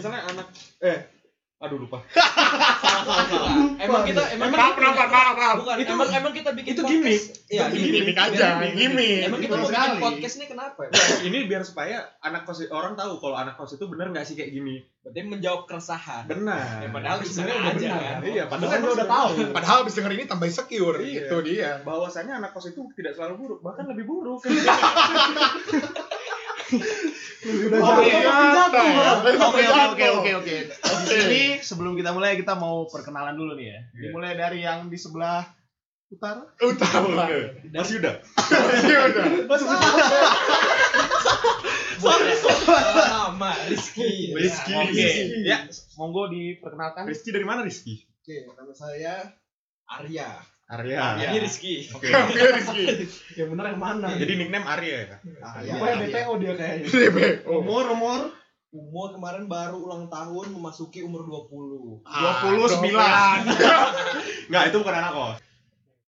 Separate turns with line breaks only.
misalnya anak eh aduh lupa
Salah, salah, salah. Emang kita
iya.
emang
Maaf,
kita-
maaf, maaf, maaf.
Bukan,
Itu-
emang emang kita bikin
itu
podcast. Iya,
Itu
gimmick.
Gimik aja, gimik.
Emang kita
Betul
mau bikin
sekali.
podcast ini kenapa ya?
ini biar supaya anak kos orang tahu kalau anak kos itu bener nggak sih kayak gini
Berarti menjawab keresahan.
benar
Ya, padahal
Tapi
sebenarnya
sebenarnya
aja,
benar.
kan?
iya padahal
Padahal
dia udah tahu
Padahal habis denger ini tambah secure,
Iya.
itu dia.
bahwasannya anak kos itu tidak selalu buruk bahkan lebih buruk
Udah
Oh,
jatuh,
iya,
jatuh,
iya.
Bang.
Iya.
Oke oke oke
Jatuh.
oke oke. Di sini sebelum kita mulai kita mau perkenalan dulu nih ya.
Iya.
Dimulai dari yang di sebelah utara.
Utama.
Mas Yuda
Iya udah.
Sorry, sorry. Lama, Rizky.
Rizky
oke.
Rizky. ya
Monggo diperkenalkan.
Rizky dari mana Rizky
Oke, nama saya Iya.
Arya.
Arya
Ini Rizky. Iya.
oke
Iya, Rizky.
Yang bener yang mana?
jadi nickname Arya ya Oh,
Arya.
Pokoknya BTO dia kayaknya.
Iya, DBO.
Umur umur umur kemarin baru ulang tahun memasuki umur 20.
Ah, Dua puluh sembilan.
nggak itu bukan anak kos